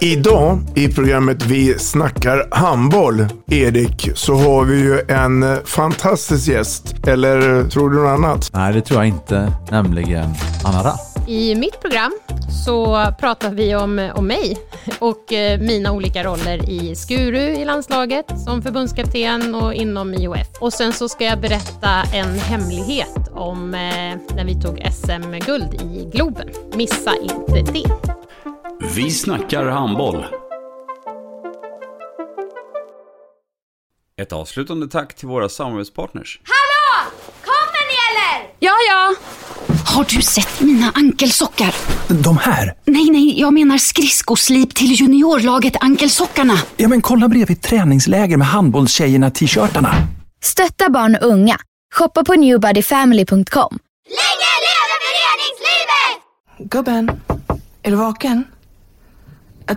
Idag i programmet Vi snackar handboll, Erik, så har vi ju en fantastisk gäst. Eller tror du något annat? Nej, det tror jag inte. Nämligen Anna Rapp. I mitt program så pratar vi om, om mig och eh, mina olika roller i Skuru i landslaget, som förbundskapten och inom IOF. Och sen så ska jag berätta en hemlighet om eh, när vi tog SM-guld i Globen. Missa inte det. Vi snackar handboll. Ett avslutande tack till våra samarbetspartners. Hallå! Kommer ni eller? Ja, ja. Har du sett mina ankelsockar? De här? Nej, nej, jag menar skridskoslip till juniorlaget Ankelsockarna. Ja, men kolla bredvid träningsläger med handbollstjejerna-t-shirtarna. Stötta barn och unga. Shoppa på newbodyfamily.com. Länge leve föreningslivet! Gubben, är du vaken? Jag,